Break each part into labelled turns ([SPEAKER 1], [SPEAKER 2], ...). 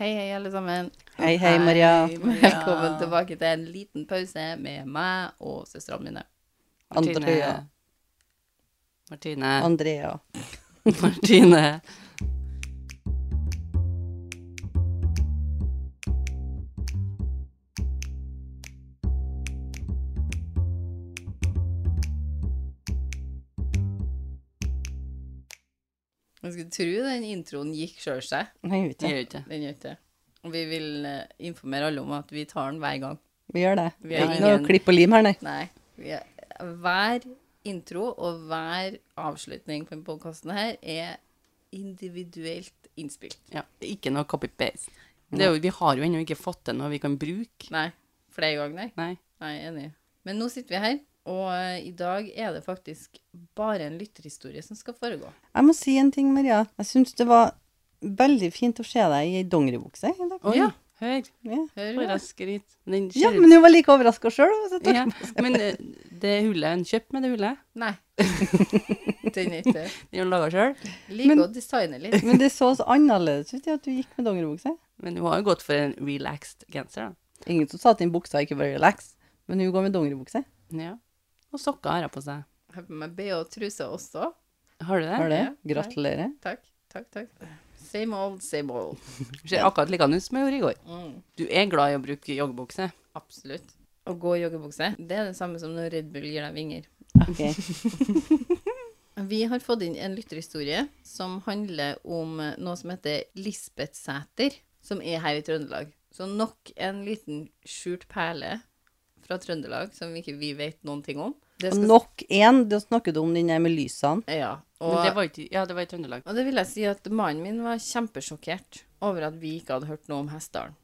[SPEAKER 1] Hei, hei, alle sammen.
[SPEAKER 2] Hei, hei, Maria.
[SPEAKER 1] Velkommen tilbake til en liten pause med meg og søstrene mine.
[SPEAKER 2] Andrea.
[SPEAKER 3] Martine.
[SPEAKER 2] Andrea.
[SPEAKER 3] Martine.
[SPEAKER 1] Man skulle tro den introen gikk sjøl seg.
[SPEAKER 2] Nei, jeg vet
[SPEAKER 3] Det
[SPEAKER 2] ikke.
[SPEAKER 3] gjør ikke.
[SPEAKER 1] Den gjør ikke det. Og vi vil eh, informere alle om at vi tar den hver gang.
[SPEAKER 2] Vi gjør det.
[SPEAKER 1] Vi
[SPEAKER 2] Det
[SPEAKER 1] er
[SPEAKER 2] er ikke noe
[SPEAKER 1] ingen-
[SPEAKER 2] klipp og lim her, nei.
[SPEAKER 1] Nei. Vi er, hver intro og hver avslutning på denne podkasten her er individuelt innspilt.
[SPEAKER 3] Ja, ikke noe copy-paste. Det er jo, vi har jo ennå ikke fått til noe vi kan bruke.
[SPEAKER 1] Nei. Flere ganger, nei.
[SPEAKER 3] Nei.
[SPEAKER 1] Nei, enig. Men nå sitter vi her, og eh, i dag er det faktisk bare en lytterhistorie som skal foregå.
[SPEAKER 2] Jeg må si en ting, Maria. Jeg syns det var veldig fint å se deg i ei dongeribukse i dag.
[SPEAKER 3] Oi, ja. hør.
[SPEAKER 2] Ja.
[SPEAKER 1] Hør,
[SPEAKER 3] Bare
[SPEAKER 1] ja.
[SPEAKER 3] skryt. Den
[SPEAKER 2] Ja,
[SPEAKER 3] ser ut-
[SPEAKER 2] men hun var like overraska sjøl.
[SPEAKER 3] ja, men eh, det hullet en kjøpte med det hullet,
[SPEAKER 1] Nei. Den er ikke
[SPEAKER 3] den har hun laga sjøl.
[SPEAKER 1] Liker å designe litt.
[SPEAKER 2] Men det så så annerledes ut i at du gikk med dongeribukse.
[SPEAKER 3] Men hun har jo gått for en relaxed genser, da.
[SPEAKER 2] Ingen som sa at den buksa ikke var relax, men hun går med dongeribukse.
[SPEAKER 3] Ja. Og sokker har hun på seg.
[SPEAKER 1] Jeg har på meg BH og truse også.
[SPEAKER 3] Har du det?
[SPEAKER 2] Har det?
[SPEAKER 1] Ja.
[SPEAKER 2] Gratulerer.
[SPEAKER 1] Takk, takk, takk. Same old, same old.
[SPEAKER 3] Ser akkurat likedan ut som jeg gjorde i går.
[SPEAKER 1] Mm,
[SPEAKER 3] Du er glad i å bruke joggebukse.
[SPEAKER 1] absolutt. Å gå i joggebukse, det er det samme som når Red Bull gir deg vinger.
[SPEAKER 2] Ok.
[SPEAKER 1] Vi har fått inn en lytterhistorie som handler om noe som heter Lisbeth Sæter, som er her i Trøndelag. Så nok en liten skjult perle fra Trøndelag som ikke vi vet noen ting om. Det skal-
[SPEAKER 2] Nok én. Da snakker du om den der med lysene.
[SPEAKER 1] Ja, og,
[SPEAKER 3] Men det var ikke, ja, det var i Trøndelag.
[SPEAKER 1] og det vil jeg si at mannen min var kjempesjokkert over at vi ikke hadde hørt noe om Hessdalen.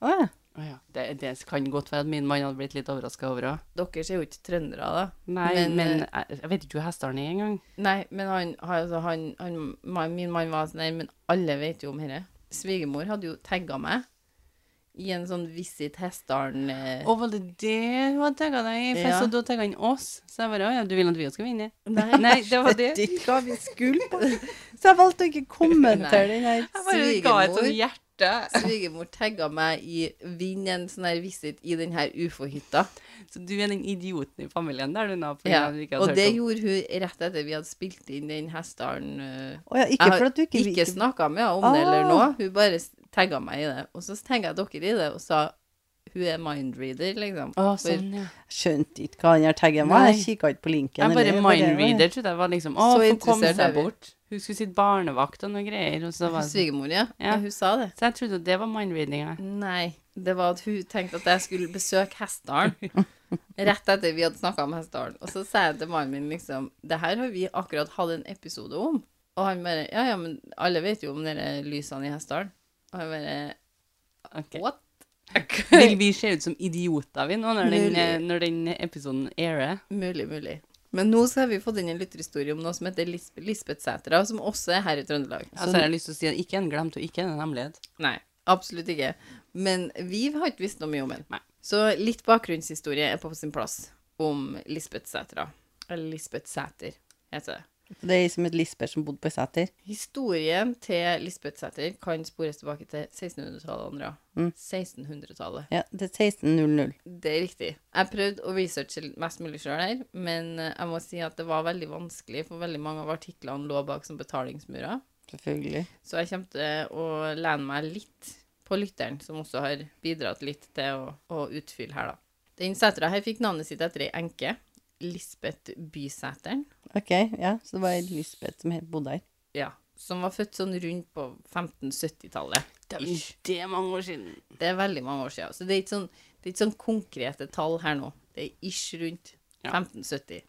[SPEAKER 2] Å ja.
[SPEAKER 3] Å ja. det, det kan godt være at min mann hadde blitt litt overraska over òg.
[SPEAKER 1] Dere er jo ikke trøndere, da.
[SPEAKER 3] Nei,
[SPEAKER 1] Men,
[SPEAKER 3] men,
[SPEAKER 1] eh,
[SPEAKER 3] jeg, jeg vet ikke hvor Hessdalen er engang.
[SPEAKER 1] Nei, men han, altså, han, han mann- Min mann var sånn Nei, men alle vet jo om dette. Svigermor hadde jo tagga meg i en sånn Visit Hessdalen eh,
[SPEAKER 3] Å, var det det hun hadde tagga deg i? For jeg
[SPEAKER 1] Ja.
[SPEAKER 3] så da tagga han oss. Så jeg bare Å ja, du vil at vi skal vinne?
[SPEAKER 1] Nei.
[SPEAKER 3] Nei, det var det.
[SPEAKER 2] Vet ikke hva vi skulle på. Så jeg valgte å ikke kommentere den her.
[SPEAKER 3] Jeg bare ga et sånt hjerte.
[SPEAKER 1] Svigermor tagga meg i Vinn en sånn her visit i den her ufo-hytta.
[SPEAKER 3] Så du er den idioten i familien der, du, nå. fordi
[SPEAKER 1] Ja.
[SPEAKER 3] at vi ikke hadde
[SPEAKER 1] Og
[SPEAKER 3] hørt
[SPEAKER 1] det
[SPEAKER 3] om-
[SPEAKER 1] gjorde hun rett etter vi hadde spilt inn den Hessdalen. eh,
[SPEAKER 2] Å ja, ikke
[SPEAKER 1] Jeg
[SPEAKER 2] for
[SPEAKER 1] har
[SPEAKER 2] at du ikke,
[SPEAKER 1] ikke
[SPEAKER 2] ikke
[SPEAKER 1] snakka med henne om det eller
[SPEAKER 2] Ah.
[SPEAKER 1] noe. Hun bare tagga meg i det. Og så tagga jeg dere i det og sa hun er mindreader, liksom.
[SPEAKER 3] Å, sånn, ja.
[SPEAKER 2] skjønte ikke hva han her taggen var. Jeg
[SPEAKER 3] Nei.
[SPEAKER 2] kikka ikke på linken.
[SPEAKER 3] Jeg bare
[SPEAKER 2] eller-
[SPEAKER 3] mindreader trodde jeg var liksom Å,
[SPEAKER 1] Så
[SPEAKER 3] få komme
[SPEAKER 1] interessert er
[SPEAKER 3] seg
[SPEAKER 1] vi.
[SPEAKER 3] bort. Hun skulle sitte barnevakt og noe greier, og så var det sånn.
[SPEAKER 1] Svigermor, ja.
[SPEAKER 3] Ja.
[SPEAKER 1] ja. Hun sa det.
[SPEAKER 3] Så jeg trodde at det var mindreadinga.
[SPEAKER 1] Nei, det var at hun tenkte at jeg skulle besøke Hessdalen. Rett etter vi hadde snakka om Hessdalen. Og så sa jeg til mannen min liksom Det her har vi akkurat hatt en episode om. Og han bare Ja, ja, men alle vet jo om dere lysene i Hessdalen. Og jeg bare
[SPEAKER 3] Ok.
[SPEAKER 1] What?
[SPEAKER 3] Vil vi se ut som idioter, vi, nå, når den,
[SPEAKER 1] Mulig.
[SPEAKER 3] når den episoden airer?
[SPEAKER 1] Mulig, mulig. Men nå så har vi fått inn en lytterhistorie om noe som heter Lis Lisbeth Sætra, som også er her i Trøndelag.
[SPEAKER 3] Altså, jeg har lyst til å si at ikke en glemt, og ikke en hemmelighet.
[SPEAKER 1] Nei, absolutt ikke. Men vi har ikke visst noe mye om
[SPEAKER 3] Nei.
[SPEAKER 1] henne. Så litt bakgrunnshistorie er på sin plass om Lisbeth Sætra. Eller Lisbeth Sæter, heter det.
[SPEAKER 2] Det er ei som het Lisbeth som bodde på Sæter.
[SPEAKER 1] Historien til Lisbeth Sæter kan spores tilbake til 1600-tallet, Andrea.
[SPEAKER 2] Mm.
[SPEAKER 1] 1600-tallet.
[SPEAKER 2] Ja, det er 1600.
[SPEAKER 1] Det er riktig. Jeg prøvde å researche mest mulig sjøl her, men eh, jeg må si at det var veldig vanskelig, for veldig mange av artiklene lå bak som betalingsmurer.
[SPEAKER 2] Selvfølgelig.
[SPEAKER 1] Så jeg kommer til å lene meg litt på lytteren, som også har bidratt litt til å, å utfylle her, da. Den setra her fikk navnet sitt etter ei enke, Lisbeth Bysæteren,
[SPEAKER 2] Ok, ja, så det var ei Lisbeth som het- bodde her.
[SPEAKER 1] ja, som var født sånn rundt på 1570-tallet. Ish.
[SPEAKER 3] Det er mange år siden.
[SPEAKER 1] Det er veldig mange år siden. Så det er ikke sånn, det er ikke sånn konkrete tall her nå. Det er ish rundt
[SPEAKER 3] Ja.
[SPEAKER 1] 1570.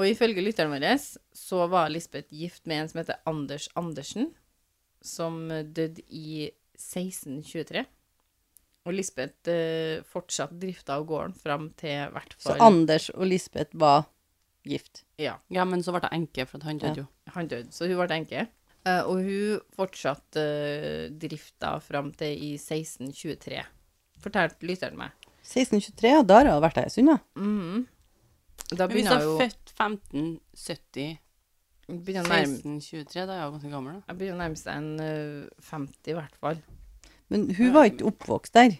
[SPEAKER 1] Og ifølge lytteren vår så var Lisbeth gift med en som heter Anders Andersen, som døde i 1623. Og Lisbeth eh, fortsatt drifta av gården fram til hvert
[SPEAKER 2] Så
[SPEAKER 1] fall
[SPEAKER 2] Anders og Lisbeth var gift.
[SPEAKER 1] ja,
[SPEAKER 3] Ja, men så ble jeg enke, for at han døde jo.
[SPEAKER 1] han døde. Så hun ble enke. Eh, og hun fortsatte eh, drifta fram til i 1623, fortalte lytteren meg.
[SPEAKER 2] 1623, ja, da har hun vært her en stund, ja.
[SPEAKER 1] Mhm. Da
[SPEAKER 3] Mm. Men hvis jeg
[SPEAKER 1] begynner
[SPEAKER 3] er
[SPEAKER 1] jo
[SPEAKER 3] født 1570
[SPEAKER 1] Begynner å nærme,
[SPEAKER 3] 1623, da er jeg jo ganske gammel, da.
[SPEAKER 1] jeg begynner å nærme seg en eh, 50 i hvert fall.
[SPEAKER 2] Men hun var ikke oppvokst der.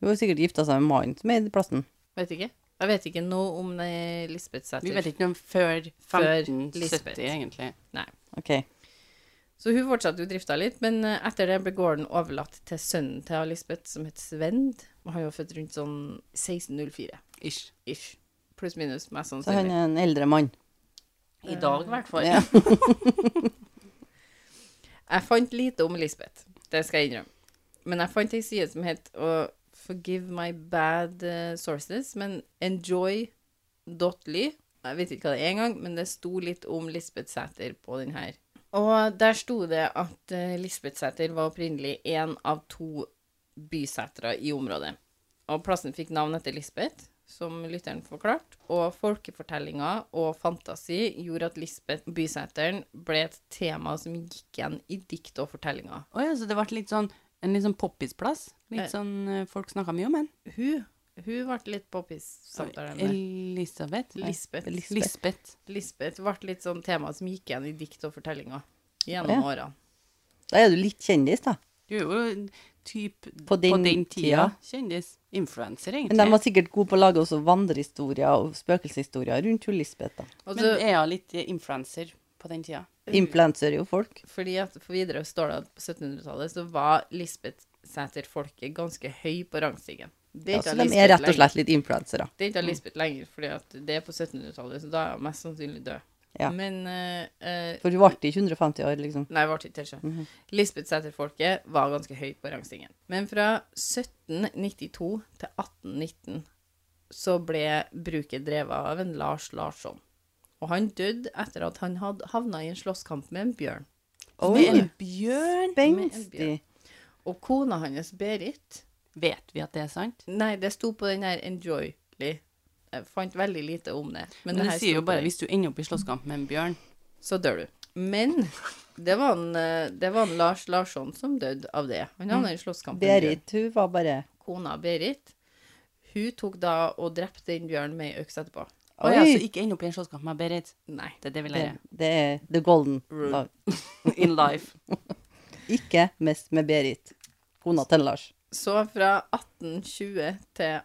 [SPEAKER 2] Hun var sikkert gifta seg med mannen som er i plassen.
[SPEAKER 1] Vet ikke. Jeg vet ikke noe om eh, Lisbeth Sæther.
[SPEAKER 3] Vi vet ikke noe før
[SPEAKER 1] Før
[SPEAKER 3] 1570,
[SPEAKER 1] Lisbeth.
[SPEAKER 3] egentlig.
[SPEAKER 2] Ok.
[SPEAKER 1] Så hun fortsatte jo drifta litt, men eh, etter det ble gården overlatt til sønnen til Lisbeth, som het Svend. Og han var født rundt sånn 1604.
[SPEAKER 3] Ish.
[SPEAKER 1] Ish. Pluss minus, mest
[SPEAKER 2] Så han
[SPEAKER 1] sannsynlig.
[SPEAKER 2] er en eldre mann.
[SPEAKER 3] I dag, i hvert fall.
[SPEAKER 2] Ja.
[SPEAKER 1] Jeg fant lite om Lisbeth, det skal jeg innrømme. Men jeg fant ei side som het og Forgive my bad eh, sources, men enjoy.ly. Jeg vet ikke hva det er engang, men det sto litt om Lisbeth Sæther på den her. Og der sto det at eh, Lisbeth Sæther var opprinnelig én av to bysetre i området. Og plassen fikk navn etter Lisbeth, som lytteren forklarte. Og folkefortellinger og fantasi gjorde at Lisbeth Byseteren ble et tema som gikk igjen i dikt og fortellinger.
[SPEAKER 3] Å ja, så det ble litt sånn en litt sånn poppis-plass. Litt sånn eh, folk snakka mye om den.
[SPEAKER 1] Hun, hun ble litt poppis samtalen med.
[SPEAKER 3] Elisabeth? Nei,
[SPEAKER 1] Lisbeth.
[SPEAKER 3] Lisbeth.
[SPEAKER 1] Lisbeth ble litt sånn tema som gikk igjen i dikt og fortellinger gjennom årene.
[SPEAKER 2] Da er du litt kjendis, da.
[SPEAKER 3] Du er jo en typ
[SPEAKER 2] På den
[SPEAKER 3] tida
[SPEAKER 2] tida.
[SPEAKER 3] kjendis. Influenser,
[SPEAKER 2] Men de
[SPEAKER 3] egentlig.
[SPEAKER 2] var sikkert gode på å lage også vandrehistorier og spøkelseshistorier rundt hun Lisbeth, da.
[SPEAKER 1] Og
[SPEAKER 3] Men
[SPEAKER 1] så,
[SPEAKER 3] er hun litt influenser på den tida?
[SPEAKER 2] Influenser er jo folk.
[SPEAKER 1] fordi at for videre står det at på 1700-tallet så var Lisbeth Sæther-folket ganske høy på rangstigen. Det
[SPEAKER 2] Ja,
[SPEAKER 1] ikke
[SPEAKER 2] så de
[SPEAKER 1] Lisbeth
[SPEAKER 2] er rett og
[SPEAKER 1] lenger.
[SPEAKER 2] slett litt influensere.
[SPEAKER 1] Det er ikke Lisbeth lenger, fordi at det er på 1700-tallet, så da er hun mest sannsynlig død.
[SPEAKER 2] Ja.
[SPEAKER 1] Men eh, eh,
[SPEAKER 2] For hun ble ikke 150 år, liksom.
[SPEAKER 1] Nei, var ikke kanskje. Lisbeth Sæther-folket var ganske høyt på rangstigen. Men fra 1792 til 1819 så ble bruket drevet av en Lars Larsson. Og han døde etter at han hadde havna i en slåsskamp med en bjørn.
[SPEAKER 3] Med en bjørn?
[SPEAKER 2] Spenstig.
[SPEAKER 1] Og kona hans, Berit,
[SPEAKER 3] Vet vi at det er sant?
[SPEAKER 1] Nei, det sto på den her Enjoyly. Jeg fant veldig lite om det. Men,
[SPEAKER 3] Men
[SPEAKER 1] det
[SPEAKER 3] det
[SPEAKER 1] her
[SPEAKER 3] sier
[SPEAKER 1] sto
[SPEAKER 3] jo
[SPEAKER 1] på
[SPEAKER 3] bare
[SPEAKER 1] den,
[SPEAKER 3] hvis du ender opp i slåsskamp med en bjørn.
[SPEAKER 1] så dør du. Men det var, en, eh, det var en Lars Larsson som døde av det. Han havna i en slåsskamp. med en bjørn.
[SPEAKER 2] Berit, hun var bare
[SPEAKER 1] Kona Berit, hun tok da og drepte den bjørnen med ei øks etterpå.
[SPEAKER 3] Å ja, så
[SPEAKER 2] Oi!
[SPEAKER 3] ikke ende opp i en slåsskamp med Berit.
[SPEAKER 1] Nei.
[SPEAKER 3] Det er det vi
[SPEAKER 2] Det,
[SPEAKER 3] lærer.
[SPEAKER 2] det er the golden love.
[SPEAKER 3] In life.
[SPEAKER 2] Ikke mest med Berit. Kona til Lars.
[SPEAKER 1] Så fra 1820 til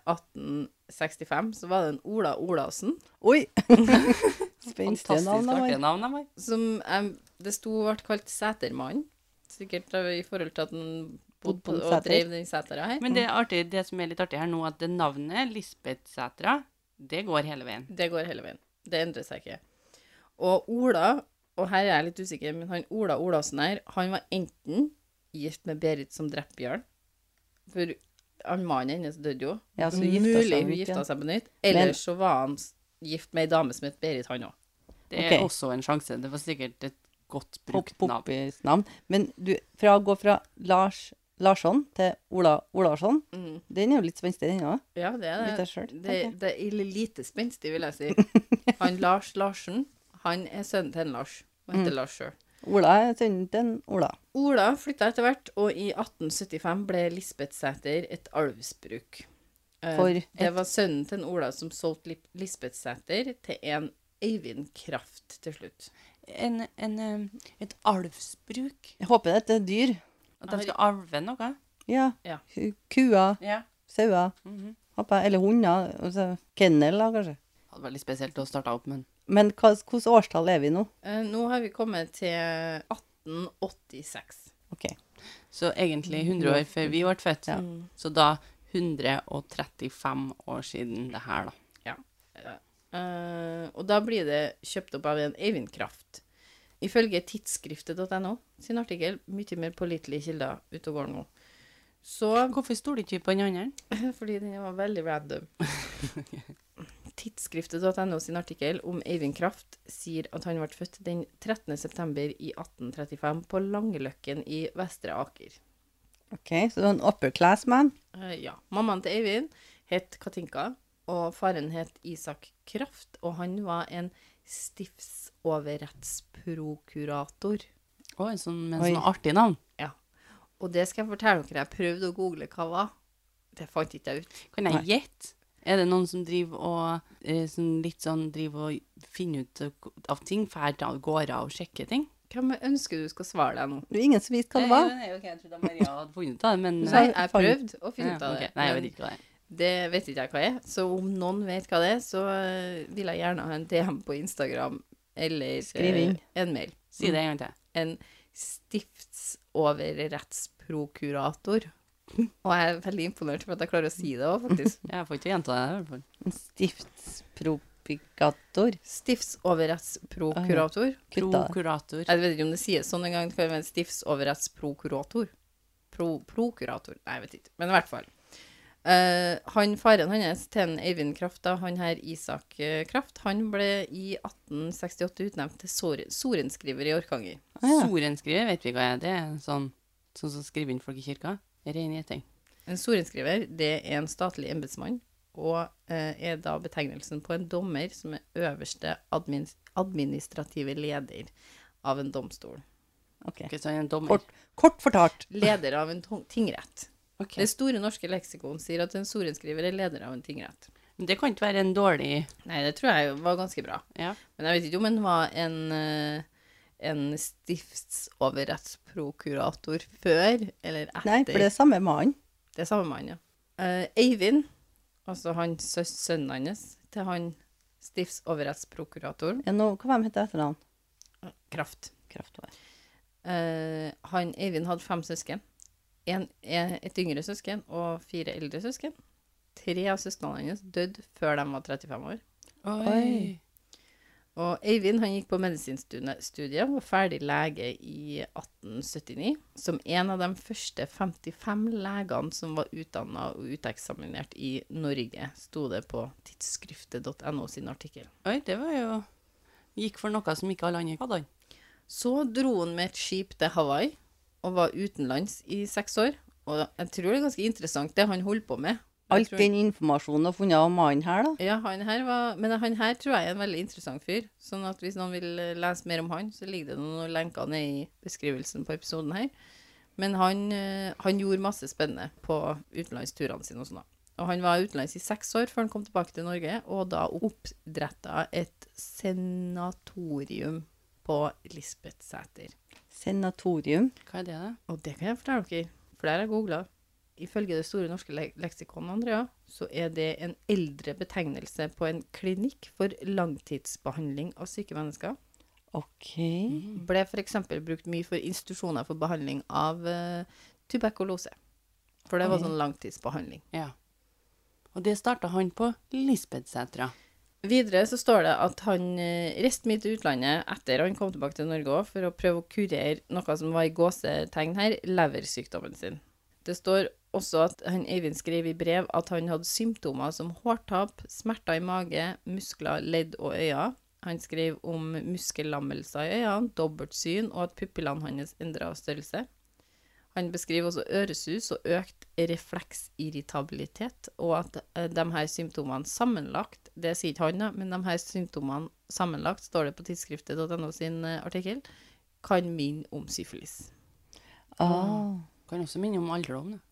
[SPEAKER 1] 1865 så var det en Ola Olasen
[SPEAKER 2] Oi! Spenstige
[SPEAKER 3] Fantastisk
[SPEAKER 2] navn.
[SPEAKER 3] artige
[SPEAKER 2] da,
[SPEAKER 3] navn de har.
[SPEAKER 1] som em, det sto ble kalt Sætermannen. Sikkert av- i forhold til at han bodde på,
[SPEAKER 2] Bodde på
[SPEAKER 1] og
[SPEAKER 2] seter.
[SPEAKER 1] drev den setera her.
[SPEAKER 3] Men det, er artig, det som er litt artig her nå, at det navnet Lisbeth Sætra, det går hele veien.
[SPEAKER 1] Det går hele veien. Det endrer seg ikke. Og Ola, og her er jeg litt usikker, men han Ola Olasen her, han var enten gift med Berit som drepte Bjørn, for han mannen hennes døde jo.
[SPEAKER 2] Ja, så hun gifta seg
[SPEAKER 1] Mulig
[SPEAKER 2] på
[SPEAKER 1] hun
[SPEAKER 2] nytt
[SPEAKER 1] gifta
[SPEAKER 2] igjen.
[SPEAKER 1] seg på nytt. Eller så var han s- gift med ei dame som het Berit, han òg.
[SPEAKER 3] Det er
[SPEAKER 2] Ok.
[SPEAKER 3] også en sjanse. Det var sikkert et godt
[SPEAKER 2] Pop-
[SPEAKER 3] brukt navn.
[SPEAKER 2] Poppis navn. Men du, fra å gå fra Lars Larsson til Ola Olarsson, den er jo litt spenstig, den òg.
[SPEAKER 1] Ja, det er
[SPEAKER 2] Litt av
[SPEAKER 1] det.
[SPEAKER 2] sjøl,
[SPEAKER 1] Det,
[SPEAKER 2] tenker
[SPEAKER 1] det er lite spenstig, vil jeg si. Han Lars Larsen, han er sønnen til en Lars. Han
[SPEAKER 2] Mm.
[SPEAKER 1] heter Lars sjøl.
[SPEAKER 2] Ola er sønnen til en Ola.
[SPEAKER 1] Ola flytta etter hvert, og i 1875 ble Lisbeth Sæter et arvsbruk. Eh,
[SPEAKER 2] For
[SPEAKER 1] det var sønnen til en Ola som solgte Lip- Lisbeth Sæter til en Eivind Kraft til slutt.
[SPEAKER 3] En, en, eh, et alvsbruk.
[SPEAKER 2] Jeg håper dette er dyr.
[SPEAKER 3] At de skal arve noe.
[SPEAKER 2] Ja.
[SPEAKER 1] Ja.
[SPEAKER 2] Kua,
[SPEAKER 3] Ja.
[SPEAKER 2] sauer, håper jeg. Eller hunder. Altså, kenneler, kanskje.
[SPEAKER 3] Hadde vært litt spesielt å starte opp, men
[SPEAKER 2] Men hva- hvilket årstall er vi nå?
[SPEAKER 1] Eh, nå har vi kommet til 1886.
[SPEAKER 2] OK.
[SPEAKER 3] Så egentlig 100 år før vi ble født. Så da 135 år siden det her, da.
[SPEAKER 1] Ja. Eh, og da blir det kjøpt opp av en Eivind Kraft. Ifølge tidsskriftet.no sin artikkel, mye mer pålitelige kilder ute og går nå, så
[SPEAKER 3] Hvorfor stoler ikke vi på den andre?
[SPEAKER 1] Fordi den var veldig random. Tidsskriftet.no sin artikkel om Eivind Kraft sier at han ble født den 13. september i 1835 på Langeløkken i Vestre Aker.
[SPEAKER 2] Ok, Så du er en upper class man?
[SPEAKER 1] Eh, ja. Mammaen til Eivind het Katinka, og faren het Isak Kraft, og han var en stiftsoverrettsprokurator.
[SPEAKER 3] Å, en sånn, med en
[SPEAKER 2] Oi.
[SPEAKER 3] sånn artig navn.
[SPEAKER 1] Ja. Og det skal jeg fortelle dere. Jeg prøvde å google hva var. Det fant ikke jeg ut.
[SPEAKER 3] Kan jeg gjette? Er det noen som driver og eh, som litt sånn driver og finner ut eh, av ting, fær av gårde og sjekker ting?
[SPEAKER 1] Hvem jeg ønsker du skal svare deg nå?
[SPEAKER 2] Det er ingen som vet Sånn hva det var.
[SPEAKER 3] Eh, jeg trodde Maria hadde funnet ut av det, men eh,
[SPEAKER 1] Nei,
[SPEAKER 2] jeg
[SPEAKER 1] jeg
[SPEAKER 2] fant-
[SPEAKER 1] prøvde å finne ut av
[SPEAKER 3] Ja,
[SPEAKER 1] det.
[SPEAKER 3] ok. Nei, jeg
[SPEAKER 1] men
[SPEAKER 3] vet ikke hva det er.
[SPEAKER 1] Det vet ikke jeg hva er. Så om noen vet hva det er, så eh, vil jeg gjerne ha en DM på Instagram eller eh,
[SPEAKER 2] Skriv inn.
[SPEAKER 1] en mail.
[SPEAKER 3] Si det en gang til.
[SPEAKER 1] En stiftsoverrettsprokurator. Og jeg er veldig imponert for at jeg klarer å si det òg, faktisk.
[SPEAKER 3] Jeg får ikke gjenta det. i hvert fall.
[SPEAKER 2] En stiftspropagator.
[SPEAKER 1] Stiftsoverrettsprokurator.
[SPEAKER 2] Kutta. Ah,
[SPEAKER 3] Prokurator.
[SPEAKER 1] Jeg vet ikke om det sies sånn en gang. Det kan være en stiftsoverrettsprokurator. Pro, prokurator? Nei, jeg vet ikke. Men i hvert fall. Eh, han, Faren hans, Ten Eivind Kraft, da, han her Isak eh, Kraft, han ble i 1868 utnevnt til sor- sorenskriver i Orkanger.
[SPEAKER 2] Ah, ja.
[SPEAKER 3] Sorenskriver vet vi hva er. Det er sånn, sånn som skriver inn folk i kirka. Ren gjeting.
[SPEAKER 1] En sorenskriver det er en statlig embetsmann, og eh, er da betegnelsen på en dommer som er øverste admin administrative leder av en domstol.
[SPEAKER 2] Ok.
[SPEAKER 3] Ok, så han er en dommer.
[SPEAKER 2] Kort, kort fortalt.
[SPEAKER 1] Leder av en tong- tingrett.
[SPEAKER 3] Ok.
[SPEAKER 1] Det store norske leksikon sier at en sorenskriver er leder av en tingrett.
[SPEAKER 3] Men Det kan ikke være en dårlig
[SPEAKER 1] Nei, det tror jeg var ganske bra.
[SPEAKER 3] Ja.
[SPEAKER 1] Men jeg vet ikke om han var en, eh, en stiftsoverrettsprokurator før eller etter.
[SPEAKER 2] Nei, for det er samme mann.
[SPEAKER 1] Det er samme mann, ja. Eh, Eivind, altså han, sø- sønnen hans til han stiftsoverrettsprokuratoren,
[SPEAKER 2] Er noe- Hva var det het etter han?
[SPEAKER 1] Kraft.
[SPEAKER 2] Kraftvar.
[SPEAKER 1] Eh, han, Eivind hadde fem søsken. En, en, et yngre søsken og fire eldre søsken. Tre av søsknene hans døde før de var 35 år.
[SPEAKER 2] Oi.
[SPEAKER 1] Og Eivind han gikk på medisinstudiet og var ferdig lege i 1879, som en av de første 55 legene som var utdanna og uteksaminert i Norge, sto det på tidsskriftet.no sin artikkel.
[SPEAKER 3] Oi, det var jo Gikk for noe som ikke alle andre hadde. han.
[SPEAKER 1] Så dro han med et skip til Hawaii og var utenlands i seks år. Og jeg tror det er ganske interessant, det han holdt på med. Jeg
[SPEAKER 2] Alt
[SPEAKER 1] tror-
[SPEAKER 2] den informasjonen har funnet av mannen her, da.
[SPEAKER 1] Ja, han her var, men han her tror jeg er en veldig interessant fyr. Sånn at hvis noen vil eh, lese mer om han, så ligger det noen lenker ned i beskrivelsen på episoden her. Men han, eh, han gjorde masse spennende på utenlandsturene sine og sånn. da. Og han var utenlands i seks år før han kom tilbake til Norge, og da oppdretta et senatorium på Lisbetsæter.
[SPEAKER 2] Senatorium.
[SPEAKER 3] Hva er det, da?
[SPEAKER 1] Og det kan jeg fortelle dere, for det har jeg googla. Ifølge det store norske le leksikon, Andrea, så er det en eldre betegnelse på en klinikk for langtidsbehandling av syke mennesker.
[SPEAKER 2] OK.
[SPEAKER 1] Ble f.eks. brukt mye for institusjoner for behandling av eh, tuberkulose. For det var
[SPEAKER 2] Oi.
[SPEAKER 1] sånn langtidsbehandling.
[SPEAKER 3] Ja. Og det starta han på Lisbetsætra.
[SPEAKER 1] Videre så står det at han eh, reiste mye til utlandet etter han kom tilbake til Norge også, for å prøve å kurere noe som var i gåsetegn her, leversykdommen sin. Det står også at han Eivind skrev i brev at han hadde symptomer som hårtap, smerter i mage, muskler, ledd og øyne. Han skrev om muskellammelser i øynene, dobbelt syn og at pupillene hans endra størrelse. Han beskriver også øresus og økt refleksirritabilitet, og at eh, de her symptomene sammenlagt, det sier ikke han da, men de her symptomene sammenlagt, står det på tidsskriftet.no sin eh, artikkel, kan minne om syfilis.
[SPEAKER 2] Ah.
[SPEAKER 3] Kan også minne om alderdom. da.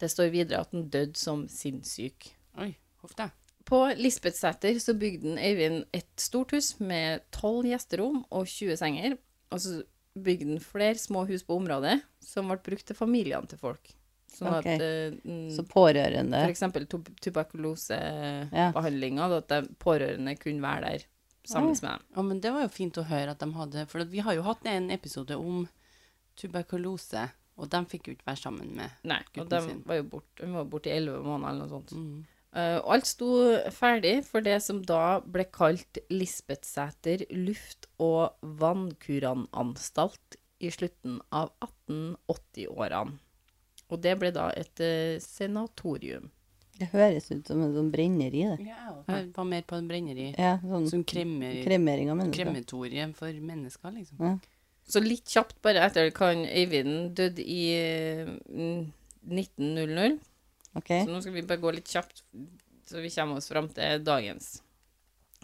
[SPEAKER 1] Det står videre at han døde som sinnssyk.
[SPEAKER 3] Oi, huff da.
[SPEAKER 1] På Lisbetsæter så bygde den Øyvind et stort hus med tolv gjesterom og 20 senger, og så bygde den flere små hus på området, som ble brukt til familiene til folk. Sånn
[SPEAKER 2] Ok.
[SPEAKER 1] at... eh, mm,
[SPEAKER 2] Så pårørende.
[SPEAKER 1] For eksempel tub tuberkulosebehandlinga, at de pårørende kunne være der sammen med dem.
[SPEAKER 3] Ja, men det var jo fint å høre at de hadde For at vi har jo hatt en episode om tuberkulose, og de fikk jo ikke være sammen med
[SPEAKER 1] Nei, og
[SPEAKER 3] Gutten
[SPEAKER 1] de
[SPEAKER 3] sin.
[SPEAKER 1] var jo borte bort i elleve måneder eller noe sånt.
[SPEAKER 3] mm.
[SPEAKER 1] Eh, og alt sto ferdig for det som da ble kalt Lisbetsæter luft- og vannkuranstalt i slutten av 1880-årene. Og det ble da et eh, senatorium.
[SPEAKER 2] Det høres ut som en sånn brenneri, det.
[SPEAKER 3] Ja, og jeg var mer på en brenneri.
[SPEAKER 2] Ja, sånn
[SPEAKER 3] Som kremmer,
[SPEAKER 2] kremering av mennesker.
[SPEAKER 3] krematorium for mennesker, liksom.
[SPEAKER 2] Ja.
[SPEAKER 1] Så litt kjapt bare etter kan Øyvind døde i eh, mm, 1900.
[SPEAKER 2] OK.
[SPEAKER 1] Så nå skal vi bare gå litt kjapt, så vi kommer oss fram til dagens.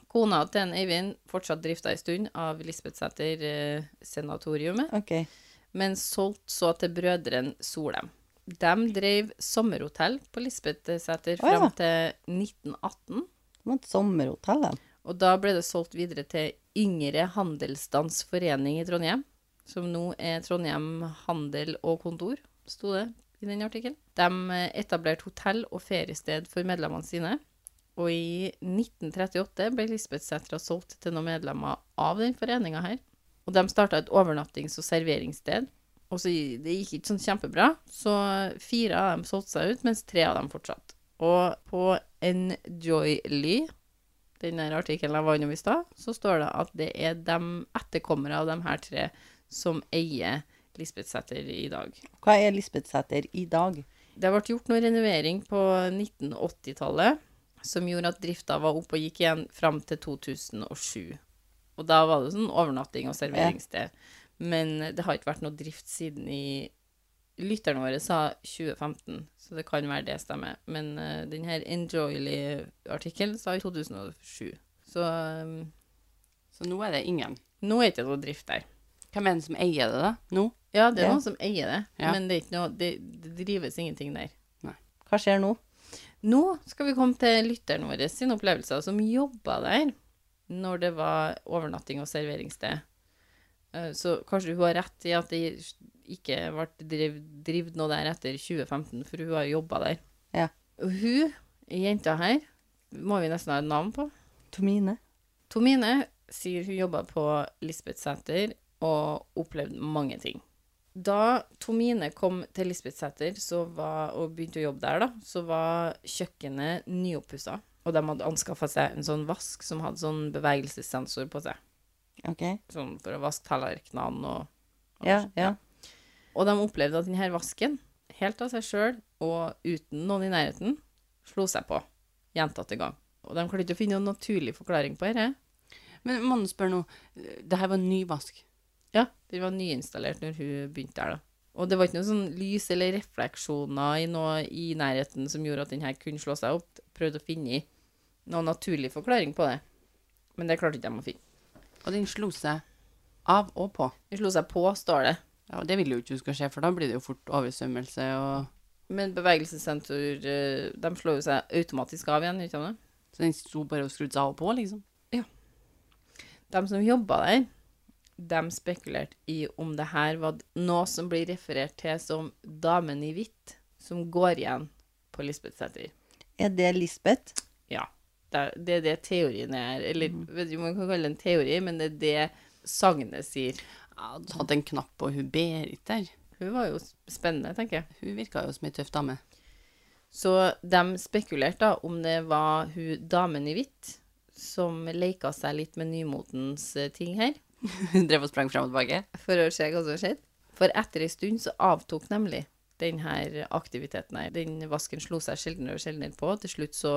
[SPEAKER 1] Kona til en Eivind fortsatt drifta en stund av Lisbetsæter eh, senatoriumet,
[SPEAKER 2] ok.
[SPEAKER 1] men solgte så til brødren Solem. De drev sommerhotell på Lisbethsæter
[SPEAKER 2] Å, ja.
[SPEAKER 1] fram til 1918.
[SPEAKER 2] Det var et sommerhotell, den.
[SPEAKER 1] Og da ble det solgt videre til Yngre Handelsstandsforening i Trondheim, som nå er Trondheim Handel og Kontor, sto det i den artikkelen. De eh, etablerte hotell og feriested for medlemmene sine, og i 1938 ble Lisbethsætra solgt til noen medlemmer av den foreninga her. Og de starta et overnattings- og serveringssted, og så gi- det gikk ikke sånn kjempebra, så fire av dem solgte seg ut, mens tre av dem fortsatte. Og på Enjoyly, den der artikkelen jeg var innom i stad, så står det at det er de etterkommere av de her tre som eier Lisbethsæter i dag.
[SPEAKER 2] Hva er Lisbethsæter i dag?
[SPEAKER 1] Det ble gjort noe renovering på 1980-tallet som gjorde at drifta var opp og gikk igjen fram til 2007. Og da var det sånn overnatting og serveringssted. Men det har ikke vært noe drift siden i Lytterne våre sa 2015, så det kan være det stemmer. Men eh, den her Enjoyly-artikkelen sa i 2007. Så eh,
[SPEAKER 3] Så nå er det ingen.
[SPEAKER 1] nå er det ikke noe drift der.
[SPEAKER 3] Hvem er det som eier det, da? Nå?
[SPEAKER 1] Ja, det er
[SPEAKER 2] Ja.
[SPEAKER 1] noen som eier det,
[SPEAKER 3] Ja.
[SPEAKER 1] men det, er ikke noe, det, det drives ingenting der.
[SPEAKER 2] Hva skjer nå?
[SPEAKER 1] Nå skal vi komme til lytteren vår sin opplevelser som jobba der når det var overnatting og serveringssted. Eh, Så kanskje hun har rett i at det ikke ble drev- drevet noe der etter 2015, for hun har jobba der.
[SPEAKER 2] Ja.
[SPEAKER 1] Og hun, jenta her, må vi nesten ha et navn på.
[SPEAKER 2] Tomine.
[SPEAKER 1] Tomine sier hun jobba på Lisbethsæter og opplevde mange ting. Da Tomine kom til Lisbethsæter så var- og begynte å jobbe der, da, så var kjøkkenet nyoppussa. Og de hadde anskaffa seg en sånn vask som hadde sånn bevegelsessensor på seg.
[SPEAKER 2] Ok.
[SPEAKER 1] Sånn for å vaske tallerkenene og
[SPEAKER 2] Ja, ja.
[SPEAKER 1] Og de opplevde at denne vasken, helt av seg sjøl og uten noen i nærheten, slo seg på gjentatte gang. Og de klarte ikke å finne noen naturlig forklaring på dette.
[SPEAKER 3] Men må du spørre nå, det her var ny vask.
[SPEAKER 1] Ja, den var nyinstallert når hun begynte der, da. Og det var ikke noe sånn lys eller refleksjoner i noe i nærheten som gjorde at den her kunne slå seg opp. Prøvde å finne noen naturlig forklaring på det. Men det klarte ikke de å finne.
[SPEAKER 3] Og den slo seg av og på.
[SPEAKER 1] Den slo seg på, står det.
[SPEAKER 3] Ja, og det vil jo ikke du skal skje, for da blir det jo fort oversvømmelse og
[SPEAKER 1] Men bevegelsessensor, eh, de slår jo seg automatisk av igjen, ikke sant?
[SPEAKER 3] Så den sto bare og skrudde seg av og på, liksom.
[SPEAKER 1] De som jobba der, de spekulerte i om det her var noe som blir referert til som damen i hvitt, som går igjen på Lisbethsæter.
[SPEAKER 2] Er det Lisbeth?
[SPEAKER 1] Ja. Det er det, er det teorien er. Eller vet ikke om man kan kalle det en teori, men det er det sagnet sier.
[SPEAKER 3] Ja, du hadde en knapp på hun Berit der.
[SPEAKER 1] Hun var jo spennende, tenker jeg.
[SPEAKER 3] Hun virka jo som ei tøff dame.
[SPEAKER 1] Så de spekulerte da om det var hun damen i hvitt som leka seg litt med nymotens eh, ting her,
[SPEAKER 3] Hun drev og sprang frem og tilbake.
[SPEAKER 1] for å se hva som skjedde. For etter ei stund så avtok nemlig den her aktiviteten her. Den vasken slo seg sjeldnere og sjeldnere på, og til slutt så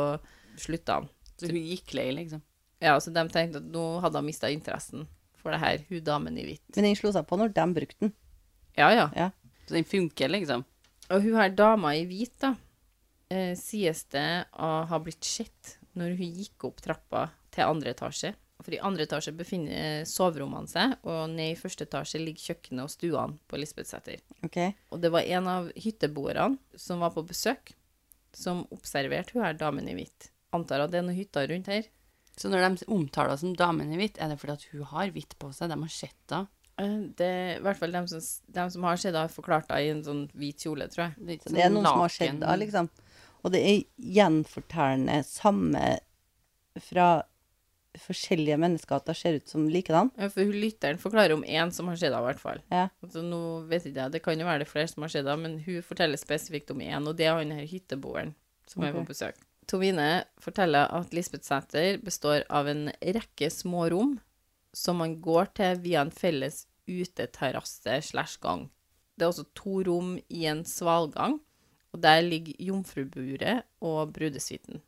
[SPEAKER 1] slutta han.
[SPEAKER 3] Så hun gikk lei, liksom.
[SPEAKER 1] Ja, så de tenkte at nå hadde han mista interessen for det her, hun damen i hvitt.
[SPEAKER 2] Men den slo seg på når de brukte den.
[SPEAKER 1] Ja, ja.
[SPEAKER 2] Ja.
[SPEAKER 3] Så den funker, liksom.
[SPEAKER 1] Og hun her dama i hvit, da, eh, sies det å ha blitt sett når hun gikk opp trappa til andre etasje. For i andre etasje befinner eh, soverommene seg, og ned i første etasje ligger kjøkkenet og stuene på Lisbethsæter.
[SPEAKER 2] Ok.
[SPEAKER 1] Og det var en av hytteboerne som var på besøk, som observerte hun her damen i hvit. Antar at det er noen hytter rundt her.
[SPEAKER 3] Så når de omtaler henne som damen i hvitt, er det fordi at hun har hvitt på seg? De har sett henne.
[SPEAKER 1] Eh, Det er i hvert fall dem som, dem som har sett henne, har forklart henne i en sånn hvit kjole, tror jeg.
[SPEAKER 3] Det ikke
[SPEAKER 2] Så det er
[SPEAKER 3] sånn
[SPEAKER 2] noen som har
[SPEAKER 3] naken-
[SPEAKER 2] skjedd da, liksom. Og det er gjenfortellende samme fra forskjellige mennesker at det ser ut som likedan.
[SPEAKER 1] Ja, For hun lytteren forklarer om én som har sett henne, i hvert fall.
[SPEAKER 2] Ja.
[SPEAKER 1] Altså, nå vet ikke jeg, Det kan jo være det flere som har sett det, men hun forteller spesifikt om én, og det er han her hytteboeren som er på
[SPEAKER 2] Ok.
[SPEAKER 1] besøk. Tomine forteller at Lisbethsæter består av en rekke små rom som man går til via en felles uteterrasse slash gang. Det er også to rom i en svalgang, og der ligger jomfruburet og brudesuiten.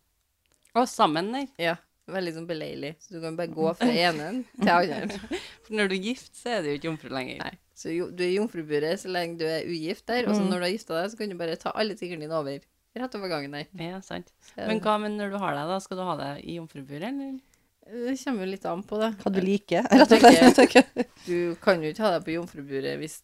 [SPEAKER 3] Å, sammen, der.
[SPEAKER 1] Ja, veldig sånn beleilig, så du kan bare gå fra enen til andre.
[SPEAKER 3] For når du er gift, så er du jo ikke jomfru lenger.
[SPEAKER 1] Nei. Så jo, du er jomfruburet så lenge du er ugift der,
[SPEAKER 3] Mm.
[SPEAKER 1] og så når du har gifta deg, så kan du bare ta alle tingene dine over. Rett over gangen der.
[SPEAKER 3] Ja, sant.
[SPEAKER 1] Ja.
[SPEAKER 3] Men hva med når du har deg, da? Skal du ha deg i jomfruburet, eller?
[SPEAKER 1] Det kommer jo litt an på, da.
[SPEAKER 2] Hva du liker, rett og slett.
[SPEAKER 1] Du kan jo ikke ha deg på jomfruburet hvis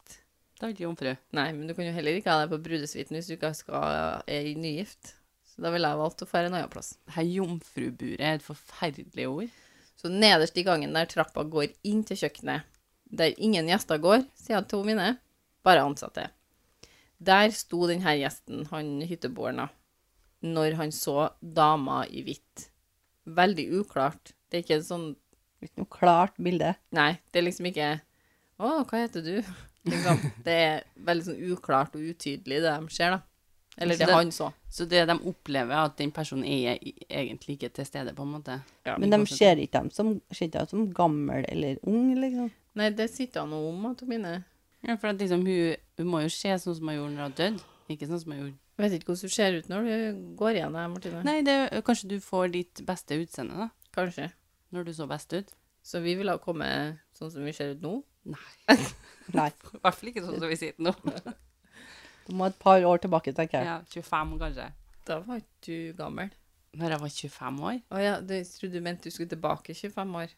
[SPEAKER 3] Det har ikke jomfru.
[SPEAKER 1] Nei, men du kan jo heller ikke ha deg på brudesuiten hvis du ikke skal, er nygift. Så da ville jeg valgt å dra en annen plass.
[SPEAKER 3] Dette jomfruburet er et forferdelig ord.
[SPEAKER 1] Så nederst i gangen der trappa går inn til kjøkkenet, der ingen gjester går, sier to mine, bare ansatte. Der sto denne gjesten, han hytteboeren, da, når han så dama i hvitt. Veldig uklart. Det er ikke en sånn
[SPEAKER 2] Litt noe klart bilde.
[SPEAKER 1] Nei, det er liksom ikke Å, hva heter du? Liksom, det er veldig sånn uklart og utydelig, det de ser, da. Eller
[SPEAKER 3] Så
[SPEAKER 1] det
[SPEAKER 3] det-
[SPEAKER 1] han så.
[SPEAKER 3] Så det de opplever, er at den personen er i- egentlig ikke til stede, på en måte.
[SPEAKER 1] Ja,
[SPEAKER 2] Men de ser ikke dem som, ser ikke dem som gammel eller ung, liksom.
[SPEAKER 1] Nei, det sitter han og om, Tomine.
[SPEAKER 3] Ja, for at liksom, hun, hun må jo se sånn som hun gjorde når hun døde, ikke sånn som hun gjorde.
[SPEAKER 1] Jeg vet ikke hvordan du ser ut når du går igjen, jeg, Martine.
[SPEAKER 3] Nei, det, er- kanskje du får ditt beste utseende, da?
[SPEAKER 1] Kanskje.
[SPEAKER 3] Når du så best ut?
[SPEAKER 1] Så vi ville ha kommet sånn som vi ser ut nå.
[SPEAKER 3] Nei.
[SPEAKER 2] Nei.
[SPEAKER 3] I hvert fall ikke sånn som vi sitter nå.
[SPEAKER 2] Du må et par år tilbake, tenker jeg.
[SPEAKER 3] Ja, 25 kanskje.
[SPEAKER 1] Da var ikke du gammel.
[SPEAKER 3] Når jeg var 25 år?
[SPEAKER 1] Å ja, det- jeg trodde du mente du skulle tilbake 25 år.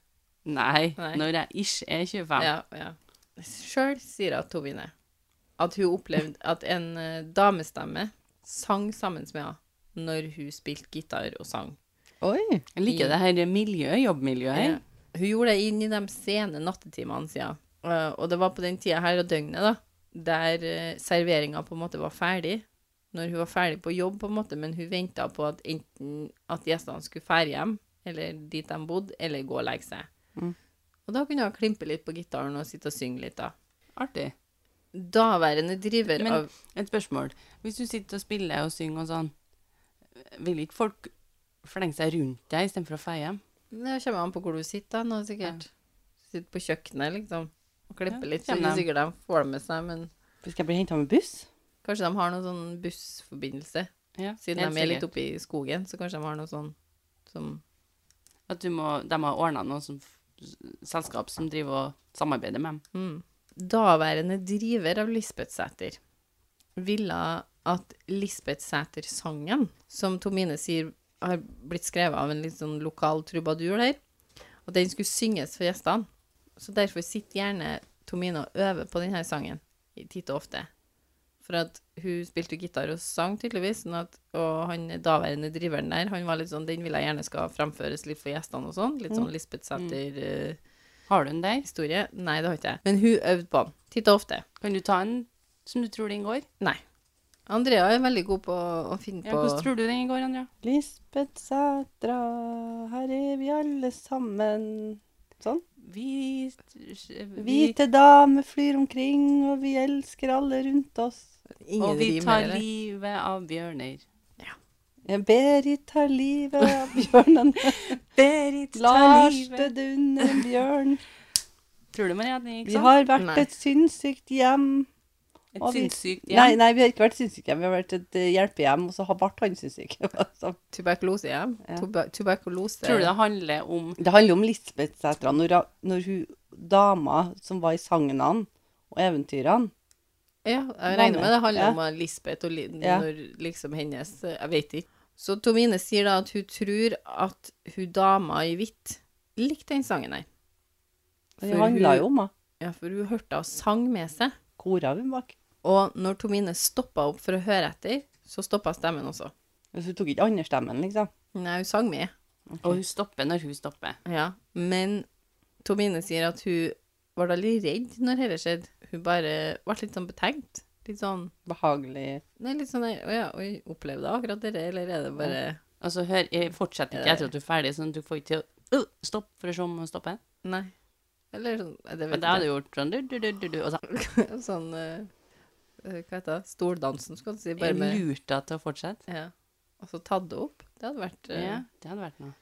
[SPEAKER 3] Nei,
[SPEAKER 1] Nei.
[SPEAKER 3] når jeg ish er 25.
[SPEAKER 1] Ja, ja. Sjøl sier at Tovine at hun opplevde at en eh, damestemme sang sammen med henne når hun spilte gitar og sang.
[SPEAKER 2] Oi!
[SPEAKER 3] Jeg liker det her miljøet, jobbmiljøet her.
[SPEAKER 1] Ja. Hun gjorde det inn i de sene nattetimene, sier hun. Eh, Og det var på den tida her av døgnet, da, der eh, serveringa på en måte var ferdig. Når hun var ferdig på jobb, på en måte, men hun venta på at enten at gjestene skulle fære hjem, eller dit de bodde, eller gå og legge seg.
[SPEAKER 2] Mm.
[SPEAKER 1] Og da kunne hun klimpe litt på gitaren og sitte og synge litt, da.
[SPEAKER 3] Artig.
[SPEAKER 1] Daværende driver
[SPEAKER 3] Men-
[SPEAKER 1] av
[SPEAKER 3] Et spørsmål. Hvis du sitter og spiller og synger og sånn, vil ikke folk flenge seg rundt deg istedenfor å feie hjem?
[SPEAKER 1] Det kommer an på hvor du sitter, da, nå, sikkert. Sitter på kjøkkenet, liksom, og klipper
[SPEAKER 3] Ja,
[SPEAKER 1] litt. Så
[SPEAKER 3] kommer
[SPEAKER 1] ikke
[SPEAKER 3] de.
[SPEAKER 1] sikkert de får det med seg, men
[SPEAKER 2] Skal jeg bli henta med buss?
[SPEAKER 1] Kanskje de har noen sånn bussforbindelse.
[SPEAKER 3] Ja,
[SPEAKER 1] Siden
[SPEAKER 3] helt
[SPEAKER 1] de er litt
[SPEAKER 3] sikkert.
[SPEAKER 1] oppe i skogen, så kanskje de har noe sånn som
[SPEAKER 3] At du må, de har ordna noe som, selskap som driver og samarbeider med dem.
[SPEAKER 1] mm. Daværende driver av Lisbeth Sæter ville at Lisbeth Sæter-sangen, som Tomine sier har blitt skrevet av en litt sånn lokal trubadur der, at den skulle synges for gjestene. Så derfor sitter gjerne Tomine og øver på denne sangen i- titt og ofte. For at hun spilte jo gitar og sang, tydeligvis. Sånn at, og han daværende driveren der, han var litt sånn Den vil jeg gjerne skal fremføres litt for gjestene og sånn. Litt sånn Lisbeth eh, Sæter-historie.
[SPEAKER 3] Har du en der?
[SPEAKER 1] Nei, det har ikke jeg. Men hun øvde på den. Titt og ofte.
[SPEAKER 3] Kan du ta en som du tror den går?
[SPEAKER 1] Nei. Andrea er veldig god på å finne
[SPEAKER 3] Ja,
[SPEAKER 1] på
[SPEAKER 3] hvordan tror du den går, Andrea?
[SPEAKER 2] Lisbeth Sætra, her er vi alle sammen. Sånn.
[SPEAKER 3] Vi, vi,
[SPEAKER 2] Hvite damer flyr omkring, og vi elsker alle rundt oss.
[SPEAKER 1] Ingen
[SPEAKER 3] og vi
[SPEAKER 1] rim
[SPEAKER 3] tar
[SPEAKER 1] heller.
[SPEAKER 3] livet av bjørner.
[SPEAKER 2] Ja, Berit tar livet av bjørnen.
[SPEAKER 3] Berit
[SPEAKER 2] Lars døde under en bjørn.
[SPEAKER 3] Tror du Maria at den gikk
[SPEAKER 2] Vi
[SPEAKER 3] sånn?
[SPEAKER 2] har vært
[SPEAKER 1] Nei.
[SPEAKER 2] et sinnssykt hjem.
[SPEAKER 3] Et
[SPEAKER 2] og vi-
[SPEAKER 3] sinnssykt
[SPEAKER 2] Nei,
[SPEAKER 3] hjem.
[SPEAKER 2] nei, vi har ikke vært sinnssykt hjem. Vi har vært et eh, hjelpehjem, og så har Bart han sinnssyk. Altså,
[SPEAKER 1] Tuberkulose, ja.
[SPEAKER 2] Ja.
[SPEAKER 1] Tuba tuberkulose.
[SPEAKER 3] Tror du det handler om
[SPEAKER 2] Det handler om Lisbeth Sætra. Når, hun- når hun dama som var i sagnene og eventyrene
[SPEAKER 1] Ja, jeg regner med det handler
[SPEAKER 2] Ja.
[SPEAKER 1] om at Lisbeth og li
[SPEAKER 2] Ja.
[SPEAKER 1] når liksom hennes Jeg vet ikke. Så Tomine sier da at hun tror at hun dama i hvitt likte den sangen her.
[SPEAKER 2] Det
[SPEAKER 1] For
[SPEAKER 2] handla
[SPEAKER 1] hun-
[SPEAKER 2] jo om henne.
[SPEAKER 1] Ja, for hun hørte hun sang med seg.
[SPEAKER 2] Kora hun bak.
[SPEAKER 1] Og når Tomine stoppa opp for å høre etter, så stoppa stemmen også.
[SPEAKER 2] Så hun tok ikke andre stemmen, liksom.
[SPEAKER 1] Nei, hun sang med.
[SPEAKER 3] Og hun stopper når hun stopper.
[SPEAKER 1] Ja. Men Tomine sier at hun var da litt redd når dette skjedde. Hun bare ble litt sånn betenkt. Litt sånn
[SPEAKER 2] Behagelig.
[SPEAKER 1] Nei, litt sånn der, Å ja, oi, opplevde jeg akkurat dette, eller er det bare
[SPEAKER 3] Og så Altså, hør, jeg fortsetter ikke etter at du er ferdig, sånn at du får ikke til å øh, stoppe for å se om hun stopper.
[SPEAKER 1] Nei. Eller sånn Det
[SPEAKER 3] Men
[SPEAKER 1] vet
[SPEAKER 3] det
[SPEAKER 1] jeg
[SPEAKER 3] hadde du gjort sånn du, du, du, du, du, og så
[SPEAKER 1] ikke. Sånn eh, eh, Hva heter det? Stoldansen, skal du si. Bare
[SPEAKER 3] jeg
[SPEAKER 1] med
[SPEAKER 3] lurte deg til å fortsette.
[SPEAKER 1] ja. Og så tatt det opp. Det hadde vært eh,
[SPEAKER 3] Ja, det hadde vært noe.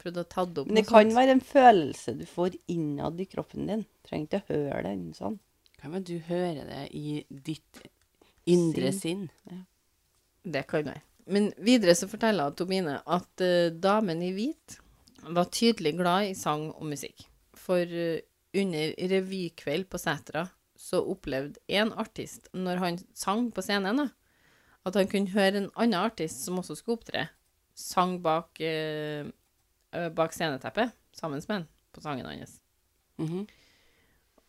[SPEAKER 1] Prøvd å tatt det opp.
[SPEAKER 2] Men det
[SPEAKER 1] noe
[SPEAKER 2] kan
[SPEAKER 1] sånt.
[SPEAKER 2] være en følelse du får innad i kroppen din. Trenger ikke å høre den sånn.
[SPEAKER 3] Kan vel du høre det i ditt indre sinn?
[SPEAKER 1] Det kan være. Men videre så forteller Tomine at eh, damen i hvit var tydelig glad i sang og musikk. For eh, under revykveld på Sætra så opplevde én artist, når han sang på scenen, da, at han kunne høre en annen artist som også skulle opptre, sang bak, eh, eh, bak sceneteppet sammen med han på sangen hans.
[SPEAKER 3] Mhm.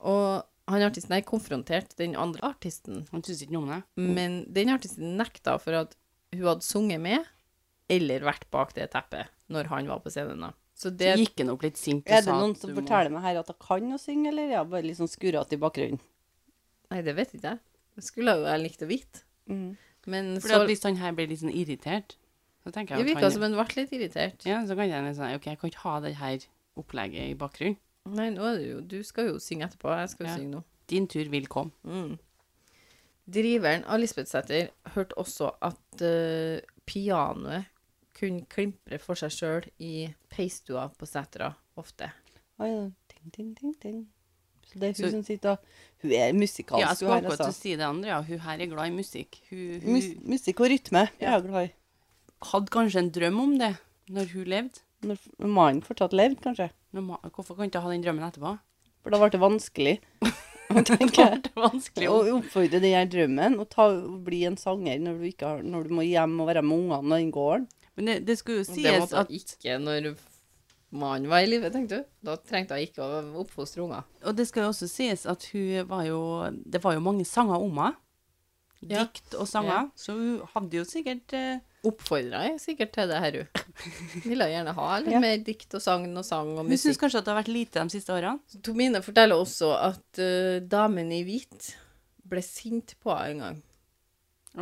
[SPEAKER 1] Og han artisten her konfronterte den andre artisten,
[SPEAKER 3] Han syntes ikke noe om det.
[SPEAKER 1] men den artisten nekta for at hun hadde sunget med eller vært bak det teppet når han var på scenen. da. Så det
[SPEAKER 3] Så gikk han opp litt sint og
[SPEAKER 2] Er det
[SPEAKER 3] sa at
[SPEAKER 2] noen som
[SPEAKER 3] du må-
[SPEAKER 2] forteller meg her at jeg kan å synge, eller er jeg bare litt sånn skurrete i bakgrunnen?
[SPEAKER 1] Nei, det vet ikke jeg. Det skulle jeg jo jeg likt å vite.
[SPEAKER 3] Mm.
[SPEAKER 1] Men
[SPEAKER 3] Fordi
[SPEAKER 1] så
[SPEAKER 3] at hvis han her blir litt sånn irritert, så tenker
[SPEAKER 1] Det
[SPEAKER 3] jeg at
[SPEAKER 1] virka
[SPEAKER 3] han
[SPEAKER 1] som han ble litt irritert.
[SPEAKER 3] Ja, så kan jeg litt sånn OK, jeg kan ikke ha det her opplegget i bakgrunnen.
[SPEAKER 1] Nei, nå er det jo Du skal jo synge etterpå. Jeg skal jo
[SPEAKER 3] Ja.
[SPEAKER 1] synge nå. Mm.
[SPEAKER 3] Din tur vil komme.
[SPEAKER 1] Driveren av Lisbethsæter hørte også at eh, pianoet kunne klimpre for seg sjøl i peistua på setra ofte.
[SPEAKER 2] Oi, da. ting, ting, ting, ting. Så det er hun
[SPEAKER 3] Så-
[SPEAKER 2] som sitter og Hun er musikalsk,
[SPEAKER 3] Ja, jeg skulle
[SPEAKER 2] hun her,
[SPEAKER 3] akkurat til å
[SPEAKER 2] altså.
[SPEAKER 3] si det andre, ja. Hun her er glad i musikk. Hun, hun
[SPEAKER 2] Mus musikk og rytme. Jeg er glad i.
[SPEAKER 3] hadde kanskje en drøm om det når hun levde.
[SPEAKER 2] Når f- mannen fortsatt levde, kanskje.
[SPEAKER 3] Når ma- Hvorfor kan hun ikke ha den drømmen etterpå?
[SPEAKER 2] For da ble det vanskelig. tenker jeg.
[SPEAKER 3] Det er vanskelig.
[SPEAKER 2] Å oppfordre den her drømmen og ta, og bli en sanger når du, ikke har, når du må hjem og være med ungene og den gården.
[SPEAKER 3] Men det, det skulle jo
[SPEAKER 1] Og det
[SPEAKER 3] sies
[SPEAKER 1] måtte
[SPEAKER 3] at
[SPEAKER 1] hun ikke når mannen var i live, tenkte du. Da trengte hun ikke å oppfostre unger.
[SPEAKER 3] Og det skal jo også sies at hun var jo Det var jo mange sanger om henne.
[SPEAKER 1] Ja.
[SPEAKER 3] Dikt og sanger.
[SPEAKER 1] Ja.
[SPEAKER 3] Så hun hadde jo sikkert eh,
[SPEAKER 1] Oppfordra jeg sikkert til det her, hun. Ville gjerne ha litt
[SPEAKER 2] Ja.
[SPEAKER 1] mer dikt og sagn og sang og
[SPEAKER 3] Hun syns
[SPEAKER 1] musikk.
[SPEAKER 3] kanskje at det har vært lite de siste årene.
[SPEAKER 1] Tomine forteller også at eh, damen i hvit ble sint på henne en gang.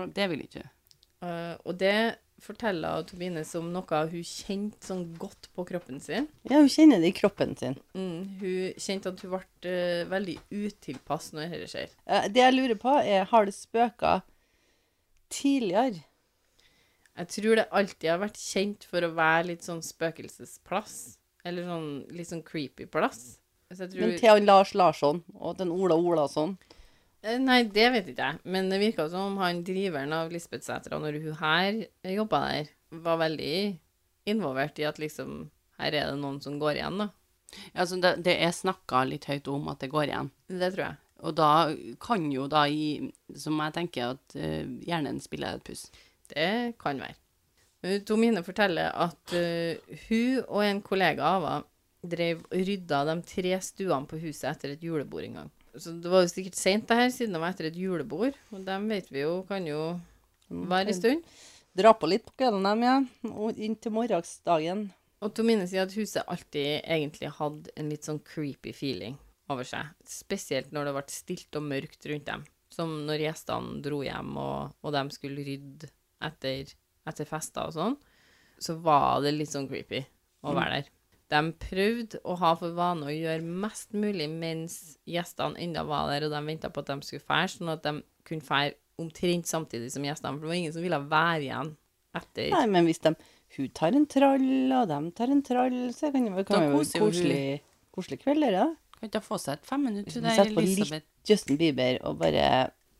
[SPEAKER 3] Og det vil ikke hun.
[SPEAKER 1] Eh, og det forteller Tobine som noe hun kjente sånn godt på kroppen sin.
[SPEAKER 2] Ja, hun kjenner det i kroppen sin.
[SPEAKER 1] Mm, hun kjente at hun ble eh, veldig utilpass når dette skjer.
[SPEAKER 2] Eh, Det jeg lurer på, er har det spøka tidligere?
[SPEAKER 1] Jeg tror det alltid har vært kjent for å være litt sånn spøkelsesplass. Eller sånn litt sånn creepy plass. Så jeg tror,
[SPEAKER 2] Men til han Lars Larsson og den Ola Olasson.
[SPEAKER 1] Eh, Nei, det vet ikke jeg. Men det virka som om han driveren av Lisbethsætra, når hun her jobba der, var veldig involvert i at liksom Her er det noen som går igjen, da.
[SPEAKER 3] Altså, det, det er snakka litt høyt om at det går igjen.
[SPEAKER 1] Det tror jeg.
[SPEAKER 3] Og da kan jo da i Som jeg tenker at eh, hjernen spiller et puss.
[SPEAKER 1] Det kan være. Eh, Tomine forteller at eh, hun og en kollega av henne drev og rydda de tre stuene på huset etter et julebord en gang. Så det var jo sikkert seint, det her, siden det var etter et julebord. Og dem vet vi jo kan jo være en stund.
[SPEAKER 2] Dra på litt på kvelden dem, ja. Og inn til morgensdagen.
[SPEAKER 1] Og Tomine sier at huset alltid egentlig hadde en litt sånn creepy feeling over seg. Spesielt når det ble stilt og mørkt rundt dem. Som når gjestene dro hjem, og, og de skulle rydde etter, etter fester og sånn. Så var det litt sånn creepy å være der. De prøvde å ha for vane å gjøre mest mulig mens gjestene enda var der, og de venta på at de skulle fære, sånn at de kunne fære omtrent samtidig som gjestene. For det var ingen som ville være igjen etter
[SPEAKER 2] Nei, men hvis de Hun tar en trall, og de tar en trall, så kan det
[SPEAKER 3] Da
[SPEAKER 2] kan jo være
[SPEAKER 3] koser jo hun.
[SPEAKER 2] koselig, koselig kveld, eller? da?
[SPEAKER 3] Kan ikke hun få seg et femminutt? Hun
[SPEAKER 2] Vi
[SPEAKER 3] der
[SPEAKER 2] setter på
[SPEAKER 3] Elisabeth
[SPEAKER 2] litt Justin Bieber og bare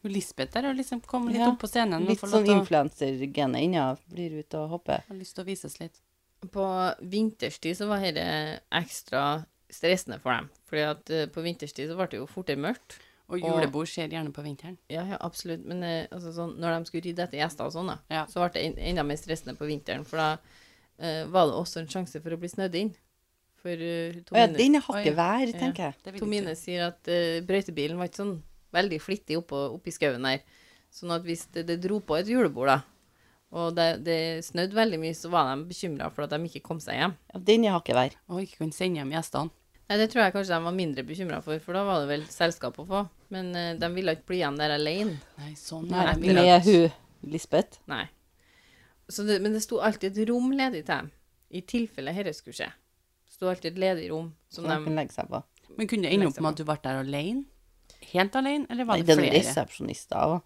[SPEAKER 3] Hun Lisbeth der har liksom kommet litt
[SPEAKER 2] Ja,
[SPEAKER 3] opp på scenen.
[SPEAKER 2] Litt sånn influensergenet inna blir ute og hopper.
[SPEAKER 3] Har lyst til å vises litt.
[SPEAKER 1] på vinterstid så var dette ekstra stressende for dem. Fordi at eh, på vinterstid så ble det jo fortere mørkt.
[SPEAKER 3] Og julebord skjer gjerne på vinteren.
[SPEAKER 1] Ja, ja, absolutt. Men eh, altså, sånn, når de skulle rydde etter gjester og sånn, da,
[SPEAKER 3] Ja.
[SPEAKER 1] så ble det en- enda mer stressende på vinteren. For da eh, var det også en sjanse for å bli snødd inn. For eh,
[SPEAKER 2] Å ja,
[SPEAKER 1] Tomine,
[SPEAKER 2] den er hakket vær, tenker jeg.
[SPEAKER 3] Det vil ikke
[SPEAKER 1] Tomine sier at eh, brøytebilen var ikke sånn veldig flittig oppå, oppi skauen der. Sånn at hvis det, det dro på et julebord, da, og det, det snødde veldig mye, så var de bekymra for at de ikke kom seg hjem.
[SPEAKER 2] Ja, den er hakket vær.
[SPEAKER 3] Og ikke kunne sende hjem gjestene.
[SPEAKER 1] Nei, Det tror jeg kanskje de var mindre bekymra for, for da var det vel selskap å få. Men eh, de ville ikke bli igjen der alene.
[SPEAKER 3] Nei, sånn
[SPEAKER 2] Nei,
[SPEAKER 3] er det.
[SPEAKER 1] men-
[SPEAKER 2] med hun Lisbeth.
[SPEAKER 1] Nei. Så det, men det sto alltid et rom ledig til dem, i tilfelle dette skulle skje. Det sto alltid et ledig rom som
[SPEAKER 2] Som de
[SPEAKER 1] de
[SPEAKER 2] kan legge seg på.
[SPEAKER 3] Men kunne det ende opp med at du ble der alene? Helt alene, eller var
[SPEAKER 2] Nei,
[SPEAKER 3] det
[SPEAKER 2] den
[SPEAKER 3] flere?
[SPEAKER 2] resepsjonista også.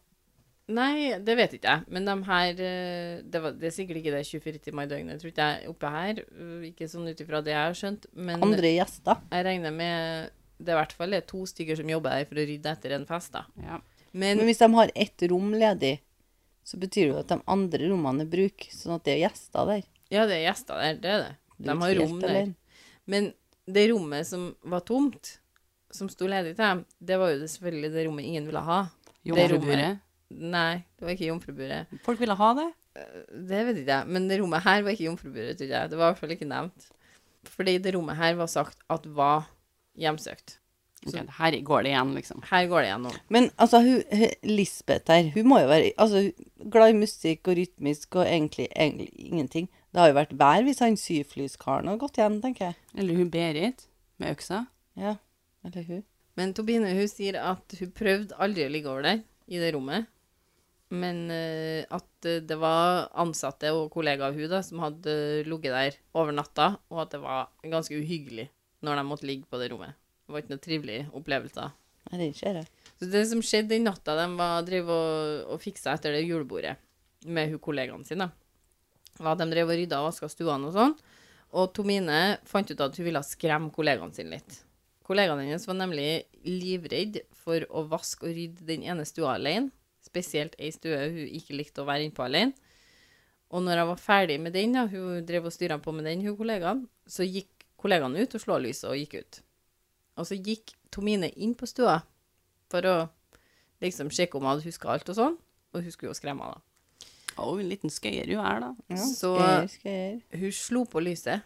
[SPEAKER 1] Nei, det vet ikke jeg. Men de her eh, Det, var, det er sikkert ikke det 24 timer i døgnet, tror ikke jeg, oppe her. Eh, Ikke sånn ut ifra det jeg har skjønt. Men
[SPEAKER 2] Andre gjester.
[SPEAKER 1] jeg regner med det i hvert fall er to stykker som jobber her for å rydde etter en fest, da.
[SPEAKER 3] Ja.
[SPEAKER 1] Men
[SPEAKER 2] Men hvis de har ett rom ledig, så betyr det jo at de andre rommene er bruk, sånn at det er gjester der.
[SPEAKER 1] Ja, det er gjester der, det er det.
[SPEAKER 2] Blir
[SPEAKER 1] De
[SPEAKER 2] ikke
[SPEAKER 1] har
[SPEAKER 2] helt
[SPEAKER 1] rom der.
[SPEAKER 2] alene.
[SPEAKER 1] Men det rommet som var tomt, som sto ledig til dem, det var jo det selvfølgelig det rommet ingen ville ha.
[SPEAKER 3] Jomfruburet.
[SPEAKER 1] Nei, det var ikke jomfruburet.
[SPEAKER 3] Folk ville ha det.
[SPEAKER 1] Det vet ikke jeg, men det rommet her var ikke jomfruburet, tror jeg. Det var i hvert fall ikke nevnt. Fordi det rommet her var sagt at var hjemsøkt.
[SPEAKER 3] Ok, her går det igjen, liksom.
[SPEAKER 1] Her går det gjennom.
[SPEAKER 2] Men altså, hun, hun, Lisbeth her, hun må jo være altså, hun- glad i musikk og rytmisk og egentlig, egentlig ingenting. Det har jo vært vær hvis han syflyskaren har gått igjen, tenker jeg.
[SPEAKER 3] Eller hun Berit med øksa.
[SPEAKER 2] Ja, eller hun.
[SPEAKER 1] Men Tobine hun sier at hun prøvde aldri å ligge over der, i det rommet. Men eh, at eh, det var ansatte og kollegaer av hun da, som hadde ligget der over natta, og at det var ganske uhyggelig når de måtte ligge på det rommet. Det var ikke noe trivelig opplevelse.
[SPEAKER 2] Nei, det ser jeg.
[SPEAKER 1] Så det som skjedde den natta de var, drev og, og fiksa etter det julebordet med hun kollegaen sin, da, var at de drev og rydda og vaska stuene og sånn. Og Tomine fant ut at hun ville skremme kollegaen sin litt. Kollegaen hennes var nemlig livredd for å vaske og rydde den ene stua alene. Spesielt ei stue hun ikke likte å være inne på alene. Og når hun var ferdig med den, da, hun drev og styra på med den, hun kollegaen, så gikk kollegaen ut og slå lyset og gikk ut. Og så gikk Tomine inn på stua for å liksom sjekke om hun hadde huska alt og sånn. Og hun skulle jo skremme henne, da.
[SPEAKER 3] Og en liten skøyer hun er, da.
[SPEAKER 2] Ja,
[SPEAKER 1] Så- eh,
[SPEAKER 2] skreier, skreier.
[SPEAKER 1] Hun slo på lyset,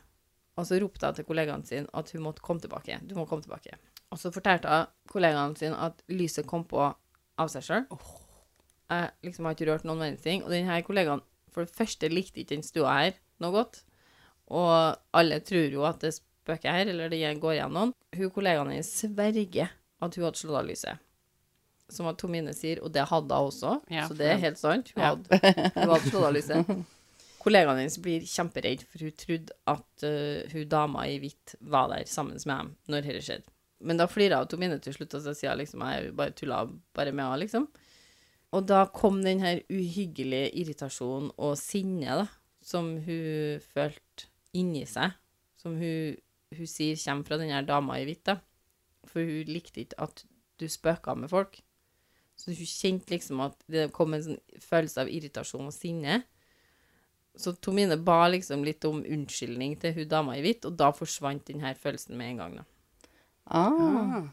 [SPEAKER 1] og så ropte hun til kollegaen sin at hun måtte komme tilbake. Du må komme tilbake. Og så fortalte hun kollegaen sin at lyset kom på av seg sjøl. Jeg liksom har ikke rørt noen verdens ting. Og denne kollegaen for det første likte ikke den stua her noe godt. Og alle tror jo at det spøker her, eller det går igjen noen. Hun kollegaen hennes sverger at hun hadde slått av lyset. Som at Tomine sier, og det hadde hun også,
[SPEAKER 3] Ja,
[SPEAKER 1] så
[SPEAKER 3] for
[SPEAKER 1] det er
[SPEAKER 3] det-
[SPEAKER 1] helt sant. Hun
[SPEAKER 3] Ja.
[SPEAKER 1] hadde, hun hadde slått av lyset. Kollegaen hennes blir kjemperedd, for hun trodde at eh, hun dama i hvitt var der sammen med dem når dette skjedde. Men da flirer hun Tomine til slutt, og så sier hun liksom Jeg bare tulla bare med henne, liksom. Og da kom den her uhyggelige irritasjonen og sinnet, da, som hun følte inni seg, som hun, hun sier kommer fra den her dama i hvitt, da. For hun likte ikke at du spøka med folk. Så hun kjente liksom at det kom en sånn følelse av irritasjon og sinne. Så Tomine ba liksom litt om unnskyldning til hun dama i hvitt, og da forsvant den her følelsen med en gang. da.
[SPEAKER 2] Ah,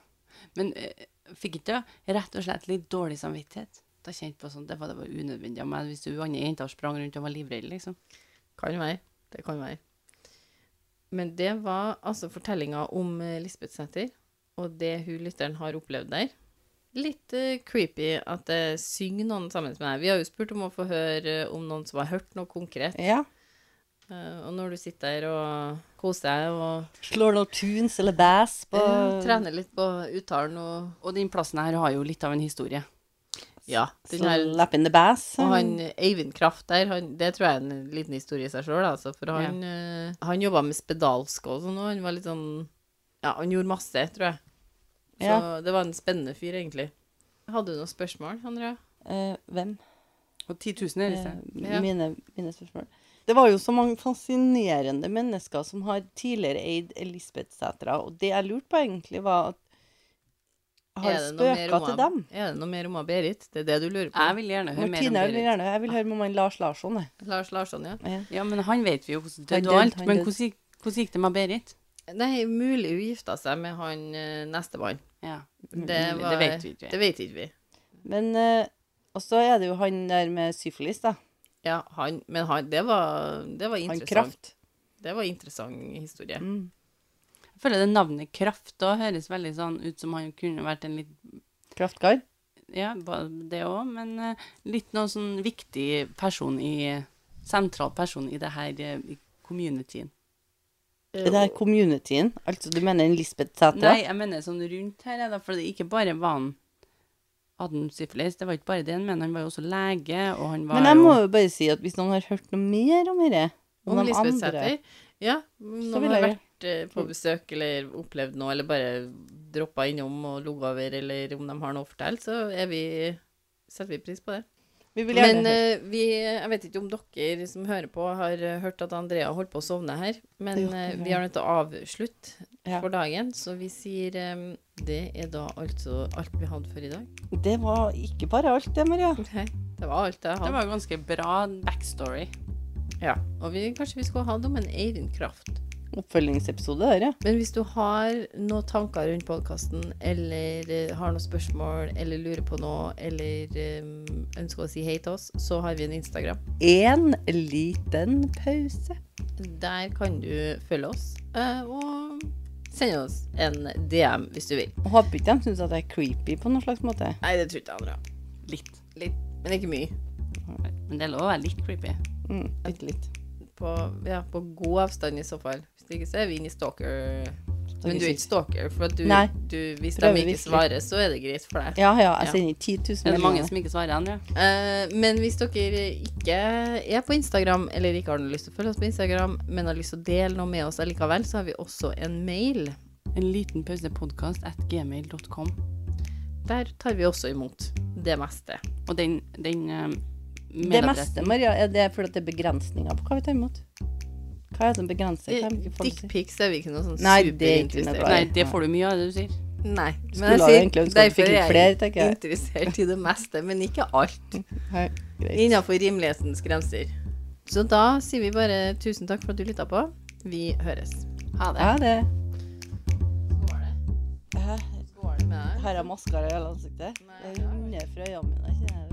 [SPEAKER 3] Men eh, fikk ikke hun rett og slett litt dårlig samvittighet? Da kjente jeg på sånn, det var, det var unødvendig av meg hvis hun andre jenta sprang rundt og var livredd, liksom.
[SPEAKER 1] Kan være. Det kan være. Men det var altså fortellinga om eh, Lisbeth Sæther og det hun lytteren har opplevd der. Litt eh, creepy at det synger noen sammen med deg. Vi har jo spurt om å få høre eh, om noen som har hørt noe konkret.
[SPEAKER 2] ja.
[SPEAKER 1] Eh, og når du sitter der og koser deg og
[SPEAKER 2] Slår noen tunes eller bass på
[SPEAKER 1] eh, trener litt på uttalen og
[SPEAKER 3] Og den plassen her har jo litt av en historie.
[SPEAKER 1] Ja. Den her
[SPEAKER 2] Slap in the bass.
[SPEAKER 1] Og han Eivind Kraft der, han, det tror jeg er en liten historie i seg sjøl, altså. For han, ja. han jobba med spedalsk og sånn, og han var litt sånn Ja, han gjorde masse, tror jeg. Så
[SPEAKER 2] Ja.
[SPEAKER 1] det var en spennende fyr, egentlig. Hadde du noen spørsmål, Andrea?
[SPEAKER 2] Eh, hvem?
[SPEAKER 3] Og 10 000 er det
[SPEAKER 2] Eh,
[SPEAKER 3] ikke?
[SPEAKER 1] Ja.
[SPEAKER 2] mine, mine spørsmål. Det var jo så mange fascinerende mennesker som har tidligere eid Elisabeth Sætra, og det jeg lurte på egentlig, var at har
[SPEAKER 1] Er det noe mer
[SPEAKER 2] spøka
[SPEAKER 1] om
[SPEAKER 2] til
[SPEAKER 1] han-
[SPEAKER 2] dem?
[SPEAKER 1] Er det noe mer om han Berit? Det er det du lurer på?
[SPEAKER 3] Jeg vil gjerne høre mer om
[SPEAKER 2] Martine, jeg vil
[SPEAKER 3] Berit.
[SPEAKER 2] gjerne jeg vil høre med han Lars Larsson. jeg.
[SPEAKER 1] Lars Larsson, ja.
[SPEAKER 2] Ja.
[SPEAKER 3] Ja, men han vet vi jo hvordan
[SPEAKER 2] Han
[SPEAKER 3] det
[SPEAKER 2] død,
[SPEAKER 3] og alt.
[SPEAKER 2] han
[SPEAKER 3] Men
[SPEAKER 2] død.
[SPEAKER 3] hvordan gikk, hvordan gikk det med Berit?
[SPEAKER 1] Nei, mulig hun gifta seg med han eh, nestemann.
[SPEAKER 3] Ja.
[SPEAKER 1] Det, var-
[SPEAKER 3] det vet vi ikke.
[SPEAKER 1] Det vet ikke vi.
[SPEAKER 2] Men eh, Og så er det jo han der med syfilis, da.
[SPEAKER 1] Ja, han, men han, det var, det var
[SPEAKER 2] Han
[SPEAKER 1] interessant.
[SPEAKER 2] Kraft.
[SPEAKER 1] Det var interessant historie.
[SPEAKER 2] Mm.
[SPEAKER 3] Jeg føler det navnet Kraft da høres veldig sånn ut som han kunne vært en litt
[SPEAKER 2] Kraftkar.
[SPEAKER 3] Ja, ba- det òg, men eh, litt noen sånn viktig person i Sentral person i det her eh, i communityen.
[SPEAKER 2] Det der communityen. Altså du mener en Lisbeth Sætra?
[SPEAKER 3] Nei, jeg mener sånn rundt her, ja, da, for det er ikke bare var han hadde han syfilis, det var ikke bare det han mente, han var jo også lege, og han var
[SPEAKER 2] Men jeg må
[SPEAKER 3] jo
[SPEAKER 2] jo bare si at hvis noen har hørt noe mer om dette
[SPEAKER 1] Om
[SPEAKER 2] de
[SPEAKER 1] Lisbeth
[SPEAKER 2] andre-
[SPEAKER 1] Sæther? Ja. Om
[SPEAKER 2] Så
[SPEAKER 1] noen
[SPEAKER 2] vil
[SPEAKER 1] har
[SPEAKER 2] jeg- Mm.
[SPEAKER 1] vært eh, på besøk eller opplevd noe, eller bare droppa innom og ligget over, eller om de har noe å fortelle, så er vi, setter vi pris på det.
[SPEAKER 2] Vi vil gjerne
[SPEAKER 1] Men
[SPEAKER 2] høre.
[SPEAKER 1] eh, vi, jeg vet ikke om dere som hører på, har eh, hørt at Andrea holdt på å sovne her. Men
[SPEAKER 2] Det gjorde
[SPEAKER 1] eh,
[SPEAKER 2] hun.
[SPEAKER 1] vi har nødt til å avslutte
[SPEAKER 2] Ja.
[SPEAKER 1] for dagen, så vi sier eh, det er da altså alt vi hadde for i dag.
[SPEAKER 2] Det var ikke bare alt det, Maria.
[SPEAKER 1] Nei, det var alt jeg
[SPEAKER 3] Det
[SPEAKER 1] hadde.
[SPEAKER 3] var ganske bra backstory.
[SPEAKER 1] Ja. Og vi, kanskje vi skulle ha det om en Eirin Kraft.
[SPEAKER 2] Oppfølgingsepisode, der, ja.
[SPEAKER 1] Men hvis du har noen tanker rundt podkasten, eller eh, har noen spørsmål, eller lurer på noe, eller eh, ønsker å si hei til oss, så har vi en Instagram.
[SPEAKER 2] En liten pause.
[SPEAKER 1] Der kan du følge oss eh, og Send oss en DM hvis du vil.
[SPEAKER 2] Og Håper ikke de syns at jeg er creepy på noen slags måte.
[SPEAKER 1] Nei, det tror ikke jeg andre.
[SPEAKER 3] Litt.
[SPEAKER 1] Litt, men ikke mye.
[SPEAKER 3] Men det er lov å være litt creepy.
[SPEAKER 2] Mm, bitte litt.
[SPEAKER 1] På, ja, på god avstand i så fall. Hvis ikke, så er vi inne i stalker... Men du er ikke stalker, for at du,
[SPEAKER 2] Nei.
[SPEAKER 1] du, hvis de
[SPEAKER 2] Prøver
[SPEAKER 1] ikke
[SPEAKER 2] virkelig.
[SPEAKER 1] svarer, så er det greit for deg.
[SPEAKER 2] Ja, ja, jeg
[SPEAKER 1] Ja.
[SPEAKER 2] sender 10 000
[SPEAKER 3] Er det mange
[SPEAKER 2] meldinger.
[SPEAKER 3] som ikke svarer ennå?
[SPEAKER 1] Eh, men hvis dere ikke er på Instagram, eller ikke har noe lyst til å følge oss på Instagram, men har lyst til å dele noe med oss allikevel, så har vi også en mail.
[SPEAKER 3] En liten pause podcast at gmail.com.
[SPEAKER 1] Der tar vi også imot det meste.
[SPEAKER 3] Og den, den eh,
[SPEAKER 2] Det
[SPEAKER 3] mailadressen-
[SPEAKER 2] meste, Maria, er det fordi at det er begrensninger på hva vi tar imot? Hva er det som begrenser? Hva er det folk sier?
[SPEAKER 1] Dickpics er vi ikke noe sånn
[SPEAKER 2] Nei, det er ikke noe
[SPEAKER 1] superinteressert
[SPEAKER 2] glad i.
[SPEAKER 3] Nei, det får du mye av, det du sier.
[SPEAKER 1] Nei,
[SPEAKER 2] Skulle
[SPEAKER 1] men
[SPEAKER 2] jo
[SPEAKER 1] jeg
[SPEAKER 2] egentlig
[SPEAKER 1] sier
[SPEAKER 2] ønske at vi
[SPEAKER 1] derfor
[SPEAKER 2] fikk litt
[SPEAKER 1] er
[SPEAKER 2] flere,
[SPEAKER 1] jeg
[SPEAKER 2] tenker jeg.
[SPEAKER 1] interessert i det meste, men ikke alt.
[SPEAKER 2] Nei, greit.
[SPEAKER 1] Innenfor rimelighetens grenser. Så da sier vi bare tusen takk for at du lytta på. Vi høres.
[SPEAKER 3] Ha det.
[SPEAKER 2] Ja, det.
[SPEAKER 1] Skål det.
[SPEAKER 2] Hæ?
[SPEAKER 1] Skål med deg.
[SPEAKER 2] Har jeg maskara i hele ansiktet?
[SPEAKER 1] Nei, det
[SPEAKER 2] Det
[SPEAKER 1] har du
[SPEAKER 2] renner fra øynene mine. kjenner jeg det.